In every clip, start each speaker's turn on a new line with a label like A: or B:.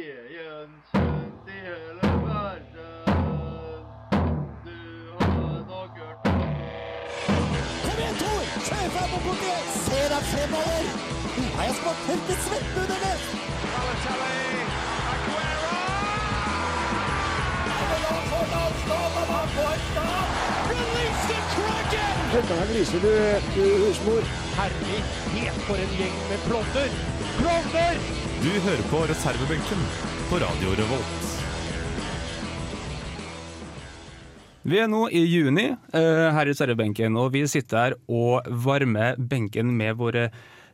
A: Veien kjent i hele verden. Du har nok hørt om
B: Kom igjen, Tor! Kjør fram og bort igjen! Se deg fremover! Nå har jeg spart helt til svettbundene!
C: Du hører på reservebenken på Radio Revolt.
D: Vi er nå i juni eh, her i Sverrebenken, og vi sitter her og varmer benken med våre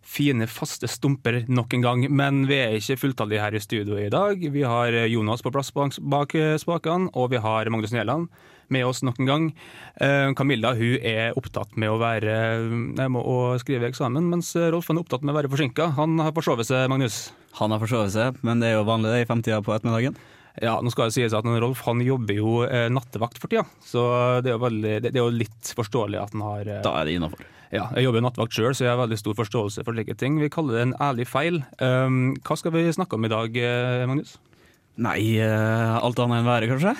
D: fine, faste stumper nok en gang. Men vi er ikke fulltallige her i studio i dag. Vi har eh, Jonas på plass bak, bak eh, spakene, og vi har Magnus Nyeland med oss nok en gang. Eh, Camilla hun er opptatt med å, være, eh, med å skrive eksamen, mens eh, Rolf han er opptatt med å være forsinka. Han har forsovet seg, Magnus.
E: Han har forsovet seg, men det er jo vanlig det i femtida på ettermiddagen.
D: Ja, nå skal det sies at Rolf han jobber jo eh, nattevakt for tida, så det er, jo veldig, det det er jo litt forståelig at han har eh,
E: Da er det innafor.
D: Ja, Jeg jobber jo nattevakt sjøl, så jeg har veldig stor forståelse for slike ting. Vi kaller det en ærlig feil. Um, hva skal vi snakke om i dag, eh, Magnus?
E: Nei, eh, alt annet enn været, kanskje?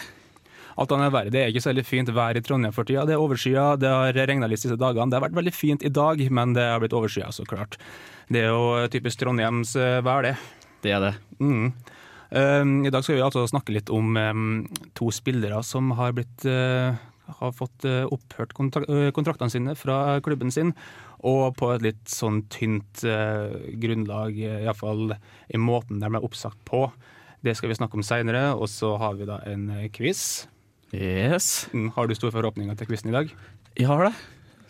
D: Alt annet været. Det er ikke særlig fint vær i Trondheim for tida. Det er overskya, det har regna litt siste dagene. Det har vært veldig fint i dag, men det har blitt overskya, så klart. Det er jo typisk Trondheims eh, vær, det.
E: Det er det.
D: Mm. Um, I dag skal vi altså snakke litt om um, to spillere som har blitt eh, har fått eh, opphørt kontra eh, kontraktene sine fra klubben sin, og på et litt sånn tynt eh, grunnlag, iallfall i måten de ble oppsagt på. Det skal vi snakke om seinere, og så har vi da en eh, quiz.
E: Yes.
D: Mm, har du store forhåpninger til quizen i dag?
E: Jeg har det.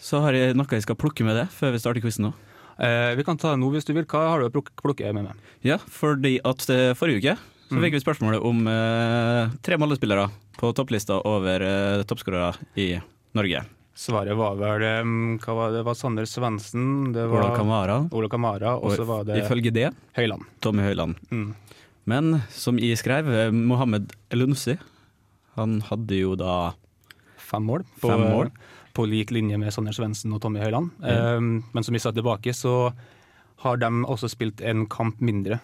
E: Så har jeg noe jeg skal plukke med det før vi starter quizen nå.
D: Eh, vi kan ta det nå hvis du vil. Hva har du å pluk- plukke med meg?
E: Ja, fordi at eh, forrige uke så fikk vi spørsmålet om eh, tre målespillere på topplista over eh, toppskårere i Norge.
D: Svaret var vel um, hva var det? det var Sander Svendsen, det var
E: Ola Kamara.
D: Ola Kamara, og så var det
E: Ifølge det
D: Høyland.
E: Tommy Høiland.
D: Mm.
E: Men som jeg skrev, eh, Mohammed Elunsi, han hadde jo da
D: Fem mål. På,
E: Fem mål. Mm.
D: på lik linje med Sander Svendsen og Tommy Høiland. Um, men som vi sa tilbake, så har de også spilt en kamp mindre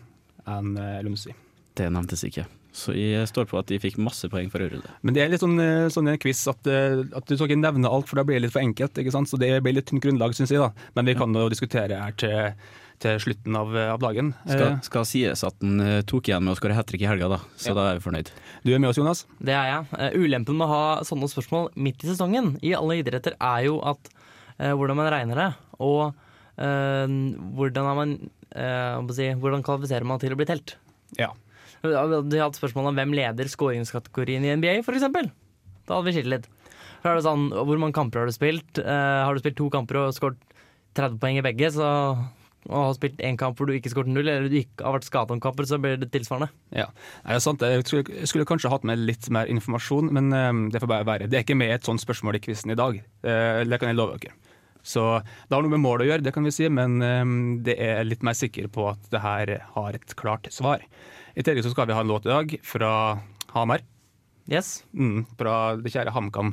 D: enn uh, Lumsi.
E: Det nevntes ikke. Så jeg står på at de fikk masse poeng for å rulle.
D: Men det er litt sånn, eh, sånn en quiz at, eh, at du skal ikke nevne alt, for da blir det litt for enkelt. ikke sant? Så det blir litt tynt grunnlag, syns jeg. da. Men vi kan jo diskutere her til, til slutten av, eh, av dagen.
E: Skal,
D: Eh,
E: skal sies at han eh, tok igjen med å skåre hat trick i helga, da. Så da er vi fornøyd.
D: du er med oss, Jonas.
F: Det er jeg. Eh, ulempen med å ha sånne spørsmål midt i sesongen i alle idretter er jo at eh, hvordan man regner det, og eh, hvordan, er man, eh, hva skal jeg si, hvordan kvalifiserer man til å bli telt.
D: Ja.
F: Vi hadde hatt spørsmål om hvem leder skåringskategorien i NBA, for eksempel. Da hadde vi skilt litt. For er det sånn, Hvor mange kamper har du spilt? Eh, har du spilt to kamper og skåret 30 poeng i begge, så og har spilt én kamp hvor du ikke skåret null, eller du ikke har vært skadet om kamper, så blir det tilsvarende.
D: Ja, Nei, det er sant. Jeg skulle, jeg skulle kanskje hatt med litt mer informasjon, men eh, det får bare være. Det er ikke med et sånt spørsmål i quizen i dag. Eh, det kan jeg love dere. Så det har noe med mål å gjøre, det kan vi si, men eh, det er litt mer sikker på at det her har et klart svar. I tillegg så skal vi ha en låt i dag fra Hamar.
F: Yes.
D: Mm, fra det kjære HamKam.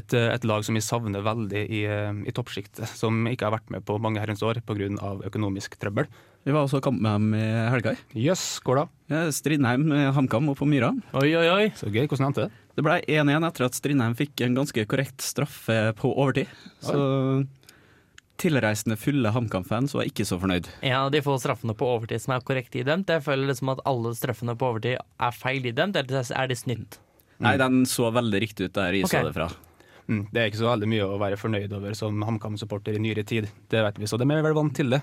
D: Et, eh, et lag som vi savner veldig i, eh, i toppsjiktet. Som ikke har vært med på mange herrens år pga. økonomisk trøbbel.
E: Vi var også i kamp med dem i helga.
D: Jøss, yes, skål da.
E: Ja, Strindheim, eh, HamKam oppe på Myra.
F: Oi, oi, oi.
D: Så gøy. Hvordan endte det?
E: Det ble 1-1 etter at Strindheim fikk en ganske korrekt straffe på overtid. Så tilreisende fulle HamKam-fans var ikke så fornøyd.
F: En av de få straffene på overtid som er korrekt idømt. Jeg føler liksom at alle straffene på overtid er feil idømt, eller er de snytt?
E: Nei, den så veldig riktig ut der jeg så det
F: Ok.
E: fra.
D: Mm, Det er ikke så veldig mye å være fornøyd over som HamKam-supporter i nyere tid. Det vet vi, så de er vel vant til det.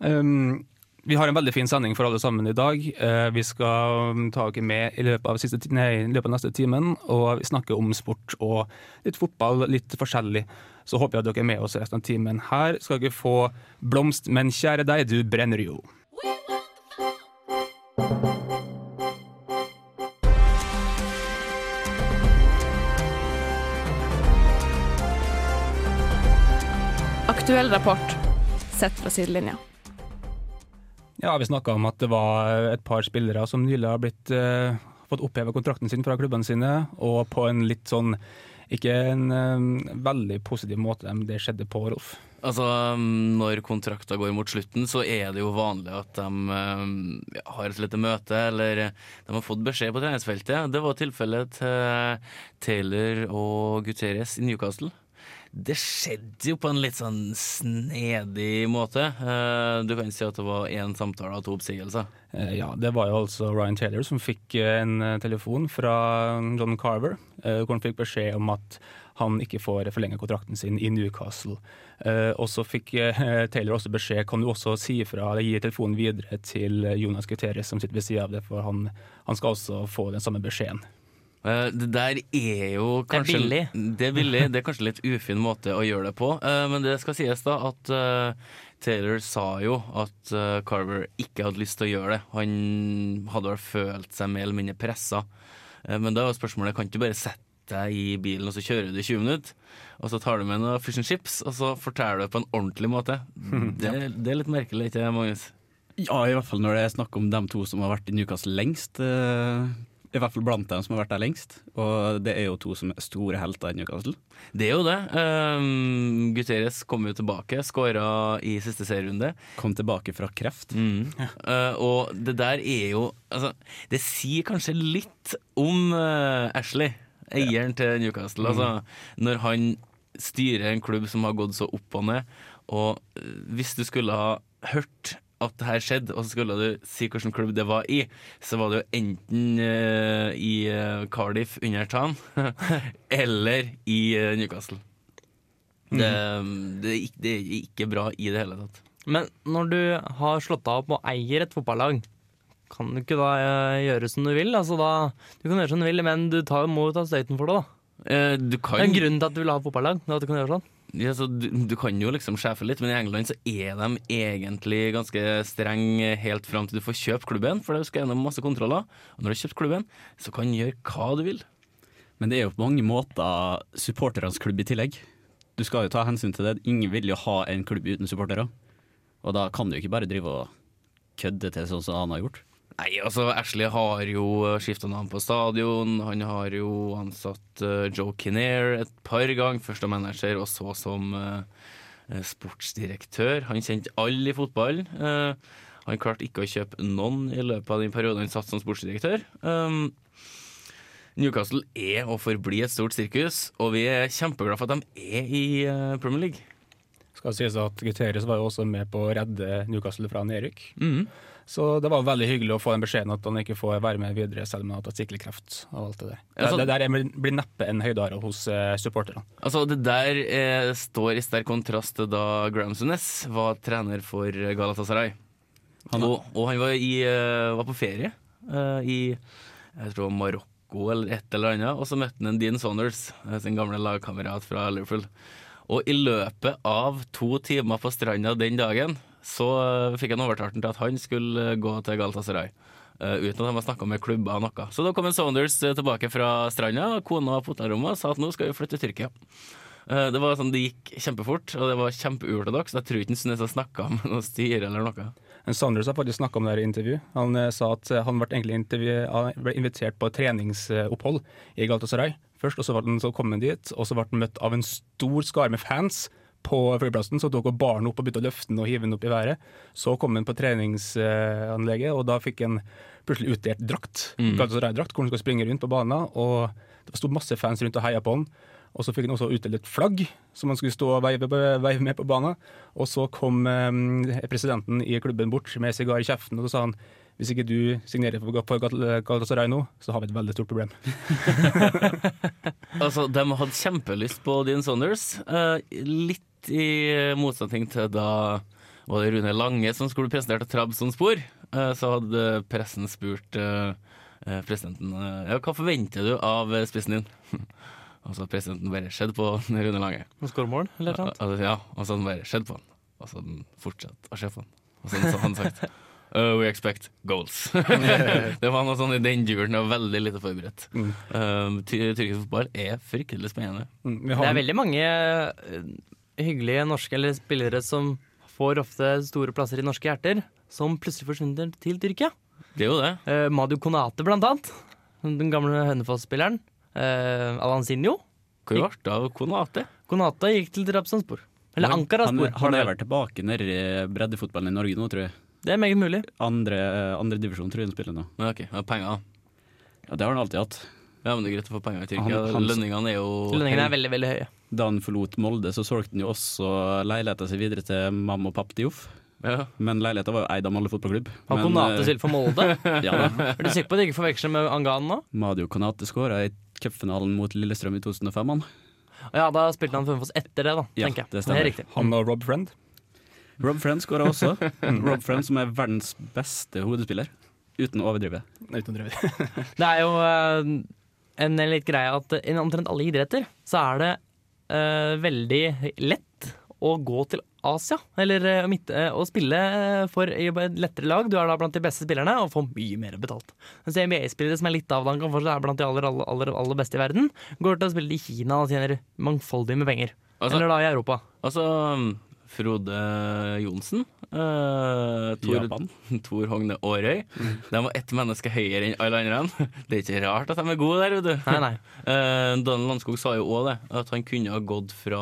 D: Um, vi har en veldig fin sending for alle sammen i dag. Eh, vi skal um, ta dere med i løpet av, siste, ti- nei, i løpet av neste timen og snakke om sport og litt fotball, litt forskjellig. Så håper jeg at dere er med oss resten av timen. Her skal dere få blomst, men kjære deg, du brenner jo.
G: Aktuell rapport sett fra sidelinja.
D: Ja, vi snakka om at det var et par spillere som nylig har blitt eh, fått oppheva kontrakten sin fra klubbene sine, og på en litt sånn ikke en eh, veldig positiv måte enn det skjedde på Rolf.
H: Altså, um, når kontrakta går mot slutten, så er det jo vanlig at de um, ja, har et lite møte, eller de har fått beskjed på treningsfeltet. Det var tilfellet til Taylor og Guterres i Newcastle. Det skjedde jo på en litt sånn snedig måte. Eh, Du kan si at det var én samtale og to oppsigelser.
D: Eh, Ja, det var jo altså Ryan Taylor som fikk eh, en eh, telefon fra John Carver, eh, hvor han fikk beskjed om at han ikke får forlenge kontrakten sin i Newcastle. Eh, Og så fikk eh, Taylor også beskjed kan du også si ifra eller gi telefonen videre til eh, Jonas Guterres som sitter ved sida av det, for han, han skal også få den samme beskjeden.
H: Eh, Det der er jo
F: er
H: kanskje
F: billig.
H: Det er billig. Det er kanskje litt ufin måte å gjøre det på. Eh, Men det skal sies da at eh, Taylor sa jo at eh, Carver ikke hadde lyst til å gjøre det. Han hadde vel følt seg mer eller mindre pressa. Eh, Men da er jo spørsmålet kan du ikke bare sette deg i bilen og så kjører du i 20 minutter. Og så tar du med noe fish and chips, og så forteller du det på en ordentlig måte. Det, det er litt merkelig, ikke det, Magnus?
E: Ja, i hvert fall når det er snakk om de to som har vært i Newcastle lengst. eh, I hvert fall blant dem som har vært der lengst. Og det er jo to som er store helter i Newcastle.
H: Det er jo det. Um, Guterres kom jo tilbake, skåra i siste serierunde.
E: Kom tilbake fra kreft.
H: Eh, og det der er jo altså, Det sier kanskje litt om eh, Ashley, eieren til Newcastle. Altså, når han styrer en klubb som har gått så opp og ned, og eh, hvis du skulle ha hørt at det her skjedde, og så skulle du si hvilken klubb det var i, så var det jo enten eh, i eh, Cardiff under Tan, eller i eh, Newcastle. Det,
F: Mhm.
H: det, er ikke, det er ikke bra i det hele tatt.
F: Men når du har slått deg opp og eier et fotballag, kan du ikke da eh, gjøre som du vil? Altså da, du kan gjøre som du vil, men du tar, må jo ta støyten for det. da.
H: Eh, du
F: Det er
H: kan
F: en grunn til at du vil ha et fotballag. det er At du kan gjøre sånn.
H: Ja, så du, du kan jo liksom sjefe litt, men i England så er de egentlig ganske strenge helt fram til du får kjøpe klubben, for du skal gjennom masse kontroller. Og når du har kjøpt klubben, så kan du gjøre hva du vil.
E: Men det er jo på mange måter supporternes klubb i tillegg. Du skal jo ta hensyn til det. Ingen vil jo ha en klubb uten supportere. Og da kan du ikke bare drive og kødde til sånn som han har gjort.
H: Nei, altså Ashley har jo skifta navn på stadion. Han har jo ansatt eh, Joe Kinnear et par ganger, først som manager og så som eh, eh, sportsdirektør. Han kjente alle i fotballen. Eh, han klarte ikke å kjøpe noen i løpet av den perioden han satt som sportsdirektør. Um, Newcastle er og forblir et stort sirkus, og vi er kjempeglad for at de er i eh, Premier League.
D: Skal sies at Guterres var jo også med på å redde Newcastle fra nedrykk.
H: Mm.
D: Så det var veldig hyggelig å få den beskjeden at han ikke får være med videre, selv om han har tatt sikkelkreft og alt det der.
H: Ja, så-
D: Det, det der er- blir neppe en høydare hos eh, supporterne.
H: Altså Det der eh, står i sterk kontrast til da Graham Sunes var trener for Galatasaray.
E: Han-
H: og, og han var, i, eh, var på ferie eh, i jeg tror Marokko eller et eller annet, og så møtte han en Dean Saunders, eh, sin gamle lagkamerat fra Liverpool. Og i løpet av to timer på stranda den dagen, så eh, fikk han overtalt han til at han skulle eh, gå til Galatasaray. eh, uten at han var snakka med klubber og noe. Så da kom en Saunders eh, tilbake fra stranda, og kona var på hotellrommet og sa at nå skal vi flytte til Tyrkia. Eh, Det var sånn, det gikk kjempefort, og det var kjempeuortodoks. Jeg tror ikke Sunnesa snakka med noe styre eller noe.
D: Men Saunders har faktisk snakka om det her i intervju. Han eh, sa at eh, han ble, egentlig intervju- han ble invitert på et treningsopphold i Galatasaray først, og så, ble han, så kom han dit, og så ble han møtt av en stor skare med fans på flyplassen, så tok han baren opp og begynte å løfte den og hive den opp i været. Så kom han på treningsanlegget, og da fikk han plutselig utdelt drakt, Galatasaray-drakt, hvor han skal springe rundt på banen, og det sto masse fans rundt og heia på han. Og så fikk han også utdelt et flagg som han skulle stå og veive, veive med på banen. Og så kom eh, presidenten i klubben bort med sigar i kjeften, og så sa han hvis ikke du signerer for Ga- for Gal- Galatasaray nå, så har vi et veldig stort problem.
H: Altså, De hadde kjempelyst på Dean Saunders. eh, Litt i motsetning til da var det Rune Lange som skulle presentert Trabzonspor. Eh, Så hadde pressen spurt eh, eh, presidenten eh, ja, hva forventer du av eh, spissen din. Og så hadde presidenten bare sett på Rune Lange.
F: Noen skåremål, eller noe sånt.
H: Altså, ja, og så hadde han bare sett på han. Og så hadde han fortsatt å se på han. Og så hadde han sagt «Uh, We expect goals. det var noe sånn i den duren. Jeg var veldig lite forberedt.
D: Mm.
H: Um, ty- Tyrkisk fotball er fryktelig spennende.
D: Mm, vi
F: Det
D: har-
F: er veldig mange eh, hyggelige norske eller spillere som får ofte store plasser i norske hjerter, som plutselig forsvinner til Tyrkia.
H: Det er jo det.
F: Eh, Madio Konate, blant annet. Den gamle Hønefoss-spilleren. Eh, Alansinho.
H: Hvor ble det av Konate?
F: Konate gikk til Trabzonspor. Eller Ankara
E: han,
F: spor.
E: han er vel tilbake nede i breddefotballen i Norge nå, tror jeg.
F: Det er meget mulig.
E: Andre, eh, andre divisjon tror jeg han spiller nå.
H: Men ok, ja, penger.
E: Ja, Det har han alltid hatt.
H: Ja, men det er greit å få penger i Tyrkia.
E: Han- han-
H: Lønningene er jo
F: Lønningene er veldig, veldig høye.
E: Da han forlot Molde, så solgte han jo også leiligheta si videre til mamma og pappa Dioff.
H: Ja.
E: Men leiligheta var jo eid av Molde fotballklubb.
F: Han
E: Men,
F: Konate
E: eh,
F: spiller for Molde.
E: ja da.
F: Er du sikker på at de ikke forveksler med Angan nå?
E: Madio Konate skåra i cupfinalen mot Lillestrøm i 2005, han.
F: Ja, da spilte han Funfoss etter det, da.
E: Ja,
F: tenker jeg.
E: det stemmer.
F: Det er riktig.
D: Han og Rob Friend.
E: Rob Friend skåra også. Rob Friend som er verdens beste hodespiller. Uten å overdrive.
D: Uten å drive.
F: Det er jo eh, en litt greie at i omtrent alle idretter så er det eh, veldig lett å gå til Asia, eller eh, midt, eh, å spille eh, for i et lettere lag. Du er da blant de beste spillerne og får mye mer betalt. Mens NBA-spillere som er litt avdanka og fortsatt er blant de aller, aller, aller, aller beste i verden, går til å spille i Kina og tjener mangfoldig med penger.
H: Altså-
F: eller da i Europa.
H: Altså Frode Johnsen, eh, Tor,
E: Japan.
H: Tor Hogne Aarøy. De var ett menneske høyere enn alle andre. Det er ikke rart at de er gode der, vet du.
F: Nei, nei.
H: Eh, Dan Landskog sa jo òg det, at han kunne ha gått fra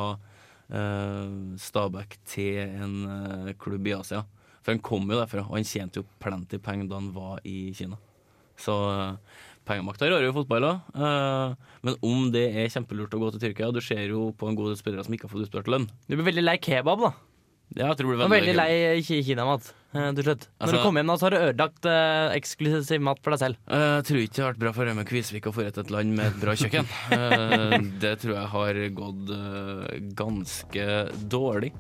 H: eh, Stabæk til en eh, klubb i Asia. For han kom jo derfra, og han tjente jo plenty penger da han var i Kina. Så uh, pengemakta rører jo fotball òg. men om det er kjempelurt å gå til Tyrkia Du ser jo på en god del spillere som ikke har fått utbetalt lønn.
F: Du blir veldig lei kebab, da.
H: Ja, jeg tror det
F: Du
H: blir
F: er veldig
H: veldig
F: lei eh, ki- kinamat, eh, til slutt. Når
H: Altså-
F: du kommer hjem, da, så har du ødelagt eh, eksklusiv mat for deg selv.
H: Eh, Jeg tror ikke det har vært bra for Rømme Kvisvik å få rett et land med et bra kjøkken. Eh, Det tror jeg har gått eh, ganske dårlig.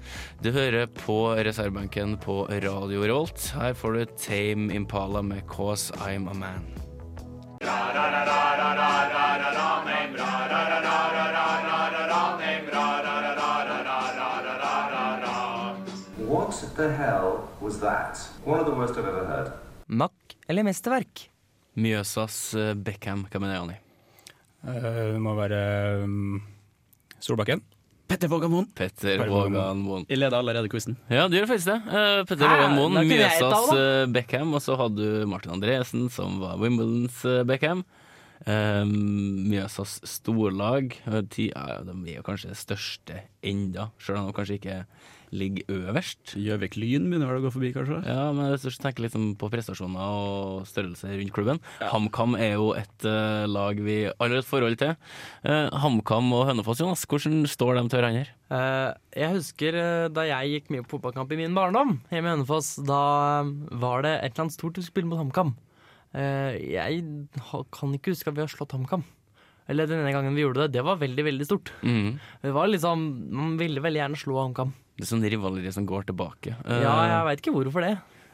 H: Du hører på reservebenken på Radio Revolt. Her får du Tame Impala med 'Cause I'm a Man'.
I: What the hell was that? One of the worst I've ever heard.
F: Mack eller mesterverk?
H: Mjøsas eh, Beckham, hva mener jeg, Anni?
D: Det Eh, må være um, Solbakken.
E: Petter Vågamon!
H: Petter
D: Bare
H: Vågan Moen.
E: Jeg leder allerede quizen.
H: Ja, du gjør faktisk det. Eh, Petter
F: Hæ?
H: Vågan Moen,
F: Da kunne jeg ta
H: Mjøsas
F: det, da.
H: eh, Beckham, og så hadde du Martin Andresen, som var Wimbledons eh, Beckham. Eh, Mjøsas storlag eh, ti- ja, De er jo kanskje det største enda, sjøl om de kanskje ikke ligger øverst.
E: Gjøvik Lyn begynner vel å gå forbi, kanskje?
H: Ja, men jeg synes- tenker liksom på prestasjoner og størrelse rundt klubben. HamKam er jo et eh, lag vi alle har et forhold til. Eh, HamKam og Hønefoss, Jonas, hvordan står de til hverandre?
F: Eh, jeg husker eh, da jeg gikk mye på fotballkamp i min barndom hjemme i Hønefoss, da eh, var det et eller annet stort du skulle spille mot HamKam. Eh, jeg ha, kan ikke huske at vi har slått HamKam. Eller den ene gangen vi gjorde det. Det var veldig, veldig stort.
H: Mhm.
F: Det var liksom, Man ville veldig gjerne slå HamKam.
H: Det er sånn rivaleri som går tilbake. Eh,
F: Ja, jeg veit ikke hvorfor det.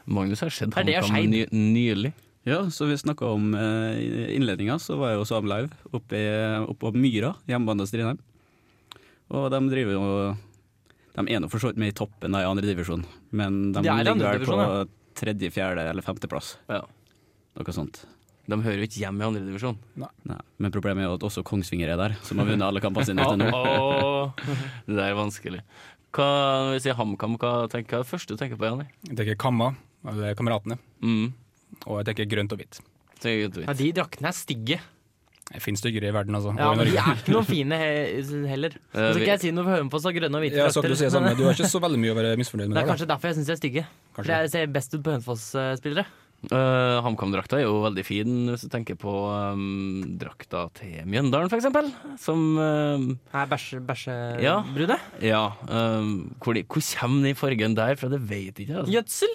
H: Magnus har sett
F: Er det
H: HamKam ny, nylig.
E: Ja, så vi snakka om eh, innledninga, så var jeg jo Sam Lauv oppe, i- oppe på Myra, hjemmebane til Strindheim. Og de driver jo De er nå for så vidt med i toppen da, i andre divisjon, men de
F: De er i
E: ligger
F: andre
E: vel på
F: divisjon,
E: tredje, fjerde eller femteplass.
H: Ja.
E: Noe sånt.
H: De hører jo ikke hjemme i andredivisjon.
E: Nei. Men problemet er jo at også Kongsvinger er der, som har vunnet alle kampene sine. til nå.
H: Det der er vanskelig. Hva, når vi sier HamKam, hva, tenker, hva er det første du tenker på, Janni?
D: Jeg tenker Kamma, eller Kameratene.
H: Mm.
D: Og jeg tenker grønt og hvitt.
H: tenker jeg
F: Ja,
H: ut.
F: De draktene er stygge.
D: Det finnes styggere i verden, altså.
F: Ja, Eh,
D: og i
F: men De
D: Norge.
F: er ikke noe fine he heller. Så skal
H: vi-
F: ikke jeg si noe for Hønefoss og grønne og hvite
D: Ja, så kan du si det
F: men
D: samme. Du har ikke så veldig mye å være misfornøyd med.
F: det er
D: der, da.
F: kanskje derfor jeg syns de er stygge. For
D: Kanskje.
F: jeg ser best ut på Hønefoss-spillere.
H: Eh, HamKam-drakta er jo veldig fin, hvis du tenker på ehm, drakta til Mjøndalen, for eksempel. Som ehm,
F: Her bæsje, bæsjebrune.
H: Ja. Ja. ehm, hvor, de, hvor kommer den fargen der fra? Det vet jeg ikke. Altså.
F: Gjødsel,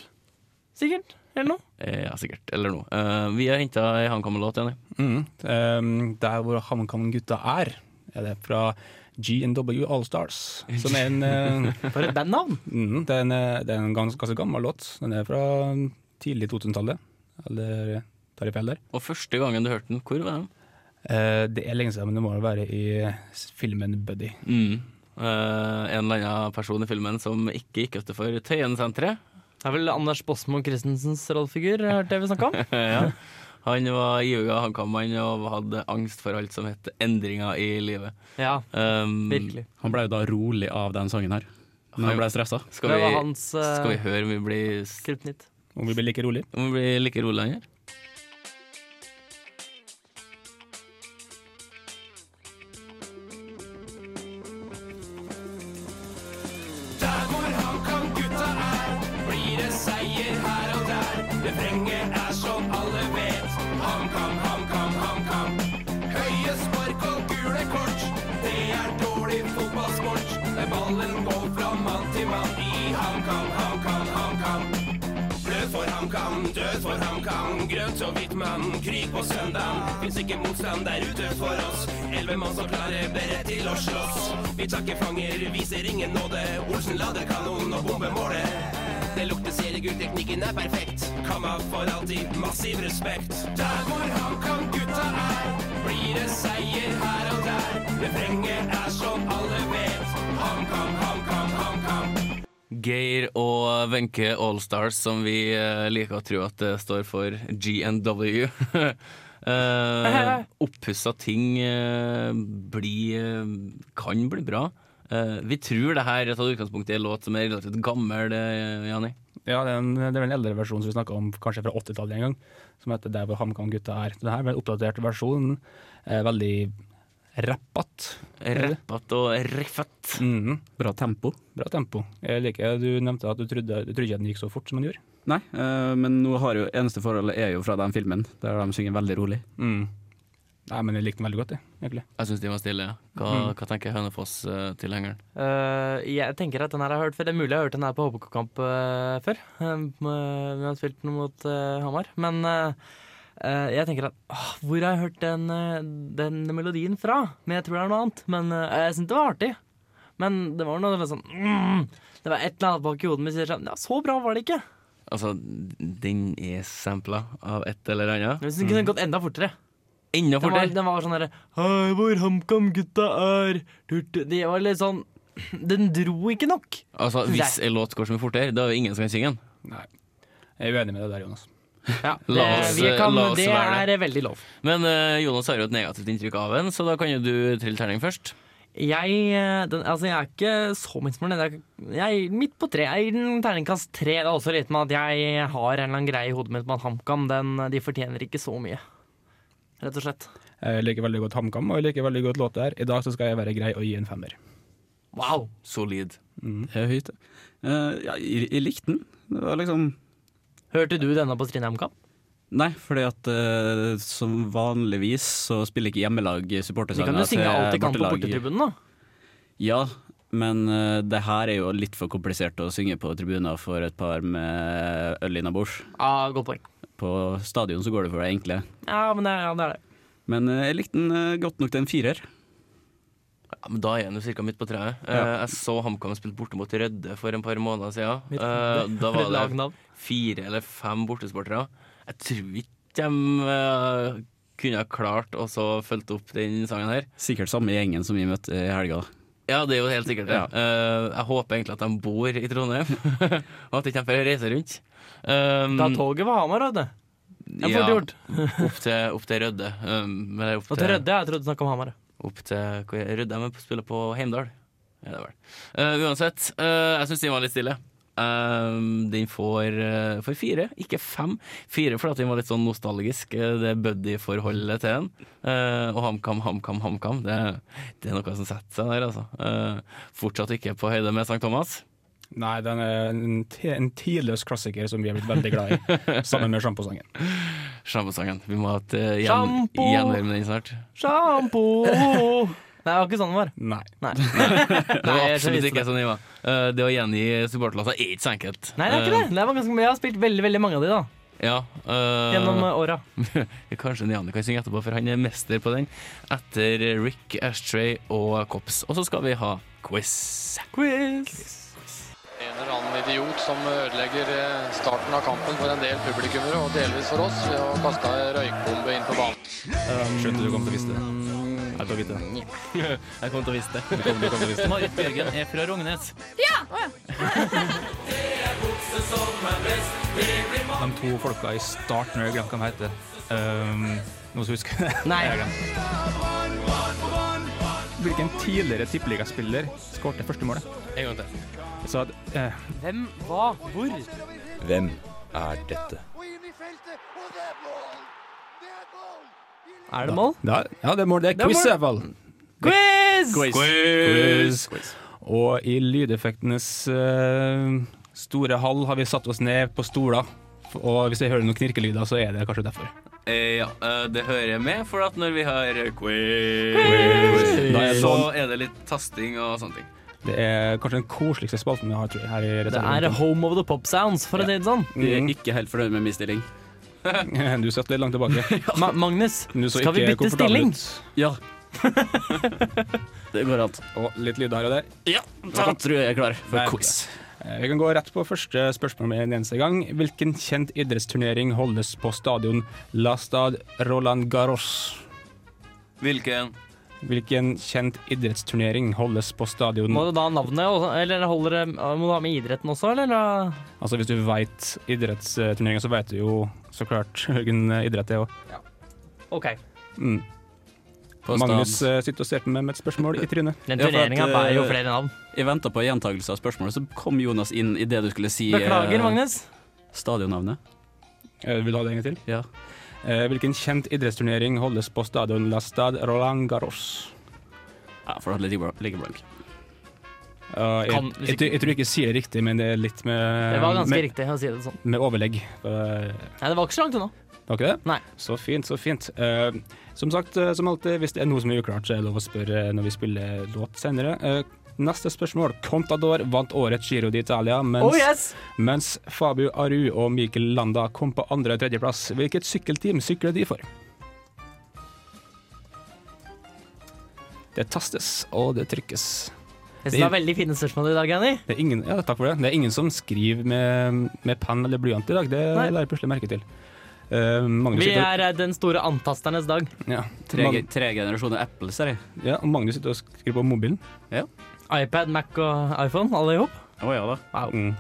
F: sikkert. Eller noe.
H: Eh, Ja, sikkert. Eller noe. Eh, vi har henta ei HamKam-låt, Janni.
D: Mm. Um, der hvor HamKam-gutta er, er det fra GNW Allstars. Som er en, eh,
F: For et bandnavn!
D: mm, det er en, eh, det er en ganske, ganske gammel låt. Den er fra tidlig 2000-tallet. Eller tar jeg feil der?
H: Og første gangen du hørte den, hvor var den?
D: Eh, det er lenge siden, men det må jo være i filmen Buddy.
H: Mm. Eh, en eller annen person i filmen som ikke gikk utenfor Tøyen-senteret.
F: Det er vel Anders Båsmo Christensens rollefigur, hørte jeg vi snakka om.
H: ja. Eh, Han var iuga hankammann og hadde angst for alt som het endringer i livet.
F: Ja,
H: Um,
F: virkelig.
E: Han ble jo da rolig av den sangen her, når han ble stressa.
H: Skal
F: det
H: vi,
F: var hans eh,
H: skal vi høre om vi blir, s-
F: kryptonitt.
D: Om vi blir like rolig.
H: om vi blir like rolig lenger?
J: rødt og hvitt, mann. Krig på søndag. Fins ikke motstand der ute for oss. Elleve mann som klarer beredt til å slåss. Vi takker fanger, viser ingen nåde. Olsen lader kanon og bomber målet. Det lukter seriegull, teknikken er perfekt. Kamma for alltid, massiv respekt. Der hvor HamKam-gutta er, blir det seier her og der. Refrenget er som alle vet. HamKam, HamKam, HamKam.
H: Geir og Wenche Allstars, som vi eh, liker å tro at det står for GNW. uh, Oppussa ting eh, blir, eh, kan bli bra. Eh, vi tror det her tatt utgangspunkt i en låt som er relativt gammel, eh, Jani.
D: Ja, det er, en, det er vel en eldre versjon som vi snakka om kanskje fra 80-tallet en gang, som heter 'Der hvor HamKam-gutta er'. Det her er en oppdatert versjon. Eh, veldig rappete.
H: Rappet og reffet.
D: Mhm.
E: Bra tempo.
D: Bra tempo. Jeg liker Du nevnte at du trodde, du trodde ikke den gikk så fort som den gjorde.
E: Nei, eh, men nå har jo eneste forholdet er jo fra den filmen, der de synger veldig rolig.
D: Mhm. Nei, men jeg likte den veldig godt, jeg, egentlig.
H: Jeg syns de var stille. ja. Hva, hva tenker Hønefoss-tilhengeren?
F: Eh, jeg tenker at den her har jeg hørt før. Det er mulig jeg har hørt den her på HBK-kamp eh, før. Um, eh, vi har spilt den mot eh, Hamar. Men eh, eh, jeg tenker at åh, hvor har jeg hørt den, eh, den melodien fra? Men jeg tror det er noe annet. Men eh, jeg syns det var artig. Men det var noe sånn mm, Det var et eller annet bak i hodet mitt som sier sånn Ja, så bra var det ikke.
H: Altså, den er sampla av et eller annet.
F: Jeg synes den kunne gått enda fortere.
H: Enda
F: Den var,
H: Mm. fortere!
F: den var sånn derre Hei, hvor HamKam-gutta er. Tut, tut. Det var litt sånn Den dro ikke nok.
H: Altså, hvis en låt går så mye fortere, da er det ingen som kan synge den.
D: Jeg er uenig med deg der, Jonas.
H: La oss,
F: det, vi kan,
H: la oss
F: det
H: være det.
F: er veldig lov.
H: Men eh, Jonas har jo et negativt inntrykk av den, så da kan jo du trille terning først.
F: Jeg, eh, den, altså, jeg er ikke så misfornøyd. Jeg, jeg er midt på tre. Jeg gir den terningkast tre. Det er også litt med at jeg har en eller annen greie i hodet mitt med at HamKam den- de fortjener ikke så mye. Rett og slett.
D: Jeg liker veldig godt HamKam, og jeg liker veldig godt låta her. I dag så skal jeg være grei og gi en femmer.
F: Wow!
H: Solid.
E: Det er høyt. Eh, ja, jeg, jeg likte den. Det var liksom
F: Hørte du denne på Strindheim kamp?
E: Nei, fordi at eh, som vanligvis så spiller ikke hjemmelag
F: De kan
E: supportersanger
F: jo synge alt de kan på
E: bortelag.
F: bortetribunen, da.
E: Ja, men eh, det her er jo litt for komplisert å synge på tribuner for et par med øl innabords.
F: Ja, godt poeng.
E: På stadion så går det for det enkle.
F: Ja, men det, ja, det er det.
E: Men eh, jeg likte den eh, godt nok til en firer.
H: Ja, men da er han jo cirka midt på treet. Eh,
E: Ja.
H: jeg så HamKam spille borte mot Rødde for en par måneder siden.
F: Midt-
H: Eh, da
F: For et
H: var det
F: lagnavn.
H: fire eller fem bortesportere. Jeg tror ikke de eh, kunne ha klart å så fulgt opp den sangen her.
E: Sikkert samme gjengen som vi møtte i helga.
H: Ja, det er jo helt sikkert det. Eh, jeg håper egentlig at de bor i Trondheim, og at de ikke får reise rundt. Um,
F: Da toget var Hamar, vet du. Jeg får det gjort.
H: opp til, opp til Rødde. Um, men opp
F: Og til Rødde, jeg trodde du snakket om Hamar.
H: opp til hvor er Rødde men spiller på Heimdal. Ja, det er vel. Eh, uansett, eh, jeg syns den var litt stille. Eh, den får, eh, får fire, ikke fem. Fire fordi at den var litt sånn nostalgisk. eh, det buddy-forholdet til den. Eh, og HamKam, HamKam, HamKam. Det, det er noe som setter seg der, altså. Eh, fortsatt ikke på høyde med St. Thomas.
D: Nei, den er en, ti- en tidløs klassiker som vi er blitt veldig glad i, sammen med sjamposangen.
H: Sjamposangen. Vi må ha et eh, gjen,
F: Sjampo!
H: gjenhør med den snart.
F: Sjampo! Nei, det var ikke sånn det var.
D: Nei.
F: Nei.
H: Det var
F: jeg
H: absolutt
F: visste
H: ikke sånn den var. Eh, det å gjengi supporterlåter er ikke så enkelt.
F: Nei, det er ikke det. det var ganske, mye. jeg har spilt veldig veldig mange av de da,
H: Eh, ja, eh,
F: gjennom eh, åra.
H: Kanskje Niani kan synge etterpå, for han er mester på den. Etter Rick, Ashtray og Kops. Og så skal vi ha quiz.
K: En eller annen idiot som ødelegger eh, starten av kampen for en del publikummere, og delvis for oss, ved å kaste ei røykbombe inn på banen.
D: Skjønte du kom til å vite det. Jeg tar vite det.
H: Jeg kommer til å vise det. Marit Bjørgen er fra Rognes.
D: De to folka i starten, jeg glemte hva de heter. Um, noen som husker det?
F: Nei.
D: Jeg har glemt. Hvilken tidligere tippeligaspiller skårte første målet?
H: En gang til.
D: Så at eh,
F: Hvem, hva, hvor?
J: Hvem er dette?
F: Er det mål?
D: da, Ja, det er mål. Det er
F: er
D: quiz, i
F: mål.
D: hvert fall.
F: Quiz!
D: Quiz! Og i lydeffektenes eh, store hall har vi satt oss ned på stoler. Og hvis jeg hører noen knirkelyder, så er det kanskje derfor.
H: Eh, ja, eh, det hører jeg med, for at når vi har quiz,
D: Da er det
H: så
D: sånn.
H: er det litt tasting og sånne ting.
D: Det er kanskje den koseligste spalten vi har tror jeg, her i
F: Det er
D: Resepsjonen.
F: Home of the Pop Sounds, for å si det sånn.
E: Vi er ikke helt fornøyd med min stilling.
D: Mm. Du satt litt langt tilbake.
F: Ma Magnus,
D: Du så
F: skal vi
D: ikke
F: bytte
D: komfortabel
F: stilling?
D: ut.
E: Ja.
D: Det går an. Og litt lyd her og der.
E: Ja, da tror jeg jeg er klar for
D: Nei,
E: quiz.
D: eh, Vi kan gå rett på første spørsmål med en eneste gang. Hvilken kjent idrettsturnering holdes på stadion La Stade Roland Garros?
H: Hvilken?
D: Hvilken kjent idrettsturnering holdes på stadion
F: Må du da ha navnet, og- eller holder det, må du ha med idretten også, eller?
D: Altså Hvis du veit idrettsturneringer, så veit du jo så klart hvilken idrett det er òg.
F: OK.
D: Mm.
E: På
D: Magnus
E: stand.
D: eh, sitter og ser på meg med et spørsmål i trynet.
F: Den
E: Ja, for at,
F: turneringa bærer jo
E: eh,
F: flere navn.
E: Jeg venta på gjentagelse av spørsmålet, så kom Jonas inn i det du skulle si. eh,
F: Beklager, Magnus.
E: Stadionnavnet.
D: Eh, vil du ha det en gang til?
E: Ja.
D: Eh, hvilken kjent idrettsturnering holdes på stadion La Stade Roland Garros?
E: ja for det ligger blank- ligger blank.
D: Eh, jeg,
F: Kan-
D: jeg, tror- jeg tror ikke jeg sier det riktig, men det er litt med
F: Det var ganske
D: med,
F: riktig å si det sånn.
D: med overlegg. Eh,
F: Nei, det var ikke så langt unna.
D: Var ikke det?
F: Nei.
D: Så fint, så fint. Eh, som sagt, eh, som alltid, hvis det er noe som er uklart, så er det lov å spørre eh, når vi spiller låt senere. Eh, neste spørsmål. Contador vant årets Giro d'Italia, mens,
F: Oh yes!
D: mens Fabu Aru og Mikkel Landa kom på andre- og tredjeplass. Hvilket sykkelteam sykler de for? Det tastes, og det trykkes.
F: Jeg synes det var veldig fine spørsmål i dag, Annie.
D: Det er ingen, ja, takk for det. Det er ingen som skriver med, med penn eller blyant i dag. Det
F: Nei.
D: la jeg plutselig merke til. Eh, Magnus
F: Vi
D: sitter og-
F: er eh, den store antasternes dag.
D: ja,
E: Tre,
D: Mag-
E: ge- tre generasjoner Apple, ser jeg.
D: Ja, og Magnus sitter og skriver på mobilen.
F: iPad, Mac og iPhone, alle i hop.
E: Å ja da.
F: Wow.
D: Mm.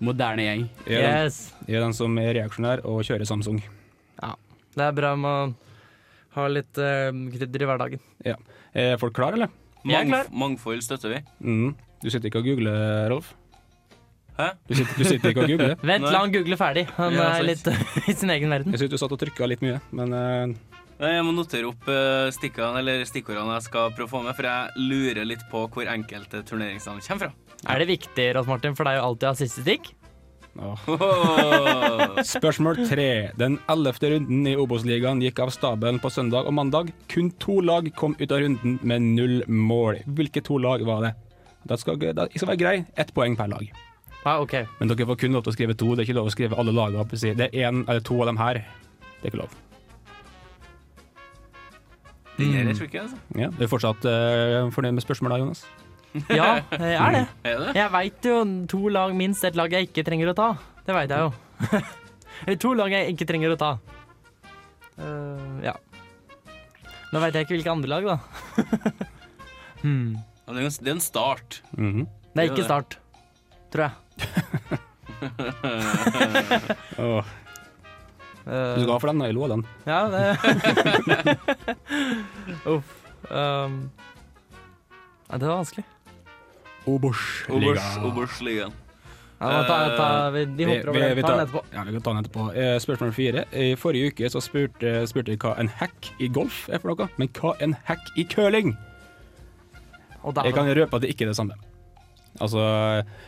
E: Moderne gjeng.
D: Jeg, er den,
F: Yes.
D: jeg er den som er reaksjonær og kjører Samsung.
F: Det er bra med å ha litt eh, krydder i hverdagen.
D: Er folk klar, eller?
F: Jeg er klar.
H: mangfold støtter vi.
D: Mm. Du sitter ikke og googler, Rolf?
H: Hæ?
D: Du sitter, du sitter ikke og googler?
F: Vent,
H: Nei.
F: la han google ferdig. Han
H: Ja,
F: er
H: sant.
F: litt i sin egen verden.
D: Jeg synes du satt og trykka litt mye, men eh,
H: Nei, Jeg må notere opp eh, stikkene, eller stikkordene jeg skal prøve å få med, for jeg lurer litt på hvor enkelte turneringsnavn kommer fra.
F: Er det viktig, Rolf Martin, for deg å alltid ha siste stikk?
D: åh.
H: Åh.
D: Spørsmål tre. Den ellevte runden i Obos-ligaen gikk av stabelen på søndag og mandag. Kun to lag kom ut av runden med null mål. Hvilke to lag var det? Da skal, da, jeg skal være grei. Ett poeng per lag.
F: Ja, OK.
D: Men dere får kun lov til å skrive to. Det er ikke lov å skrive alle lagene opp og si det er én eller to av dem her. Det er ikke lov.
H: Den her er tricky, altså.
D: Ja, Du er fortsatt eh, fornøyd med spørsmålet, da, Jonas?
F: Ja, jeg er det.
H: Er det?
F: Jeg veit jo to lag minst et lag jeg ikke trenger å ta. Det veit jeg jo. Eller to lag jeg ikke trenger å ta. Eh, ja. Nå veit jeg ikke hvilke andre lag, da. hmm.
H: Ja, Det er en- det er en start.
D: Mhm.
F: Det er
H: Det
F: ikke
H: er
F: Start, tror jeg.
D: Åh,
F: Eh,
D: Du ga for den, da. Jeg lo av den.
F: ja, det Uff. Um. Nei, det var vanskelig.
H: Obers-
D: Obos-ligaen.
H: Obers-ligaen.
F: Ja, men ta, ta, vi, de
D: Eh, Vi-
F: hopper
D: vi- vi
F: over det. Ta
D: tar-
F: den etterpå.
D: Ja, vi kan ta den etterpå. Eh, Spørsmål fire. I forrige uke så spurte, spurte jeg hva en hack i golf er for noe, men hva en hack i curling?
F: Og der,
D: Jeg kan røpe at det ikke er det samme. Altså,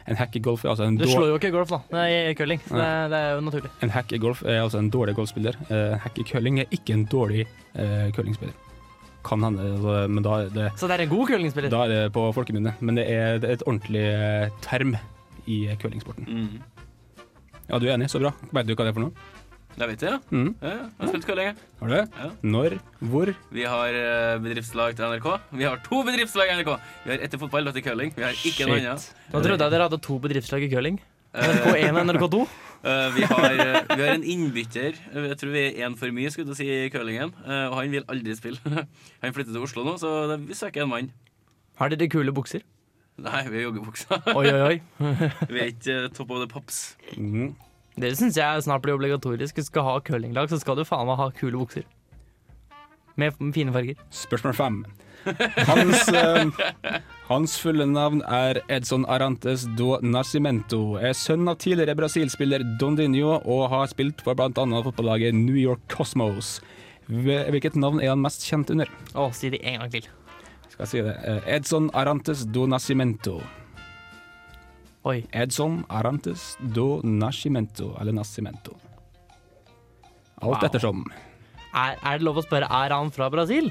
D: en hack i golf er altså en,
F: Du slår
D: dår
F: jo ikke golf, da. Nei, i curling. Så det, det er jo naturlig.
D: en, hack i golf er altså en dårlig golfspiller. Eh, En hack i curling er ikke en dårlig eh, curlingspiller. Kan hende, altså, men da er det
F: Så det er en god curlingspiller.
D: Da er det på folkemunne, men det er et ordentlig eh, term i curlingsporten.
H: Mhm.
D: Ja, du er enig, så bra. Vet du hva det er for noe?
H: Jeg vet det, ja.
D: Mhm.
H: Ja, Jeg har spilt curling. jeg.
D: Har du det?
H: Ja.
D: Når? Hvor?
H: Vi har eh, bedriftslag til NRK. Vi har to bedriftslag i NRK. Vi har ett til fotball, ett til curling. Vi har ikke noe annet.
F: Nå trodde jeg dere hadde to bedriftslag i curling.
H: Eh,
F: NRK1 og NRK2.
H: Eh, vi, har, eh, vi har en innbytter. Eh, Jeg tror vi er én for mye, skulle du si, i curlingen. Eh, og han vil aldri spille. han flytter til Oslo nå, så det, vi søker en mann.
F: Har dere kule bukser?
H: Nei, vi har joggebuksa.
F: Oi, oi, oi.
H: vi er ikke eh, top of the pops.
D: Mhm.
F: Det syns jeg snart blir obligatorisk. Hvis du skal ha curlinglag, så skal du faen meg ha kule bukser. Med f- fine farger.
D: Spørsmål fem. Hans, eh, hans fulle navn er Edson Arantes do Nascimento. Er sønn av tidligere Brasil-spiller Dondinho og har spilt for bl.a. fotballaget New York Cosmos. Hvil- Hvilket navn er han mest kjent under?
F: Å, si det en gang til.
D: Skal jeg si det? Eh, Edson Arantes do Nascimento.
F: Oi.
D: Edson Arantes do Nascimento, eller Nascimento. Alt
F: Wow.
D: ettersom.
F: Er, er det lov å spørre er han fra Brasil?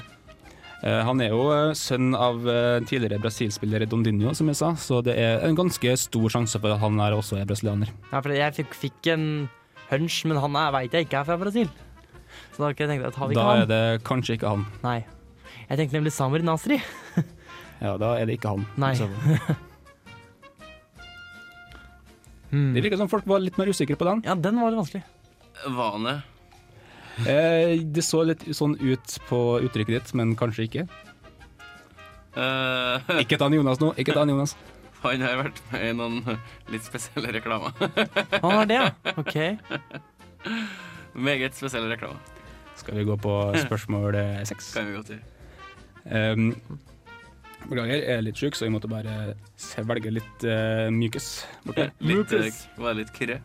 D: Eh, Han er jo eh, sønn av eh, tidligere Brasil-spiller Dondinho, som jeg sa, så det er en ganske stor sjanse for at han er også er brasilianer.
F: Ja, for jeg fikk, fikk en hunch, men han er- vet jeg ikke er fra Brasil. Så da har ikke jeg tenkt at har vi
D: Da
F: ikke
D: er
F: han?
D: det kanskje ikke han.
F: Nei. Jeg tenkte nemlig Samir Nasri.
D: Ja, da er det ikke han.
F: Nei.
D: Så- Det virker som folk var litt mer usikre på den.
F: Hmm. Ja, den var litt vanskelig.
H: Vane.
D: Eh, det så litt sånn ut på uttrykket ditt, men kanskje ikke.
H: Eh,
D: Ikke ta den Jonas nå. Ikke ta den Jonas.
H: han har vært med i noen litt spesielle reklamer.
F: Han har det, ja. OK.
H: Meget spesielle reklamer.
D: Skal vi gå på spørsmål eh, seks?
H: Kan vi godt gjøre.
D: Um, beklager, jeg er litt sjuk, så jeg måtte bare svelge litt eh, mykes borti her.
H: Litt, eh, var det litt kyrre?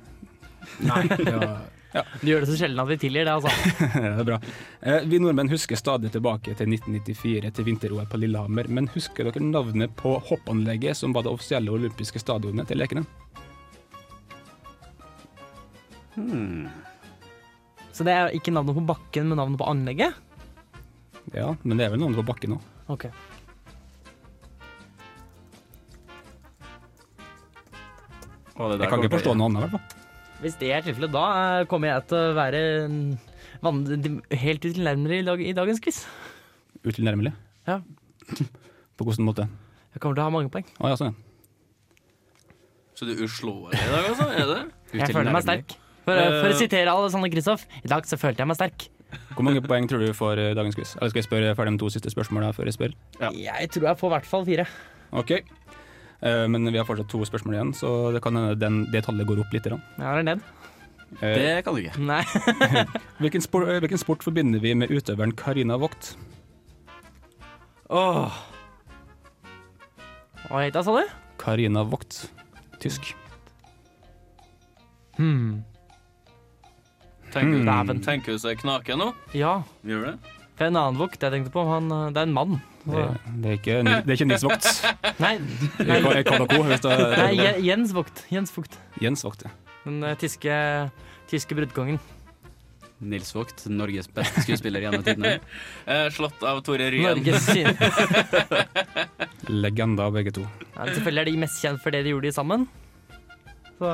D: Nei, det var
F: Du gjør det så sjelden at vi tilgir det, altså.
D: det er bra. Eh, Vi nordmenn husker stadig tilbake til 1994, til vinter-OL på Lillehammer. Men husker dere navnet på hoppanlegget som var det offisielle olympiske stadionet til lekene?
F: Så det er ikke navnet på bakken, men navnet på anlegget?
D: Ja, men det er vel navnet på bakken òg.
F: OK.
D: Jeg kan ikke forstå noe annet, i hvert fall.
F: Hvis det er tilfellet, da eh, kommer jeg til å være mm, van- de- helt utilnærmelig i, dag, i dagens quiz.
D: Utilnærmelig.
F: Ja.
D: På hvilken måte?
F: Jeg kommer til å ha mange poeng.
D: Å ja, sånn. ja.
H: Så du er uslåelig i dag, altså? Er det?
F: Jeg føler meg sterk. For, eh, for å sitere Alexander Kristoff, i dag så følte jeg meg sterk.
D: Hvor mange poeng tror du får eh, dagens quiz? Eller skal jeg spørre ferdig de to siste spørsmålene før jeg spør?
F: Jeg tror jeg får i hvert fall fire.
D: OK. Eh, Men vi har fortsatt to spørsmål igjen, så det kan hende den- det tallet går opp litt. grann.
F: Jeg har en ned.
D: Eh,
E: Det kan du ikke.
F: Nei.
D: Hvilken, spor, eh, hvilken sport forbinder vi med utøveren Karina Vogt?
F: Åh. Hva het jeg, sa du?
D: Karina Vogt, tysk.
F: Hmm.
H: Tenker,
F: Dæven.
H: tenker du så jeg knaker nå?
F: Ja.
H: Gjør du det?
F: Det er en annen vokt jeg tenkte på. Han, eh, det er en mann.
D: Det, det, er, ikke, det er ikke Nils Vogt.
F: Nei,
D: Jeg kan- jeg kan nok ord, hvis det-
F: nei Je- Jens Vogt. Jens Vogt.
D: Jens Vogt, ja.
F: Den eh, tyske, tyske bruddkongen.
E: Nils Vogt, Norges beste skuespiller gjennom tidene.
H: Eh, slått av Tore Ryen.
F: Norges syn.
D: Legende av begge to.
F: Ja, men selvfølgelig er de mest kjent for det de gjorde de sammen. Så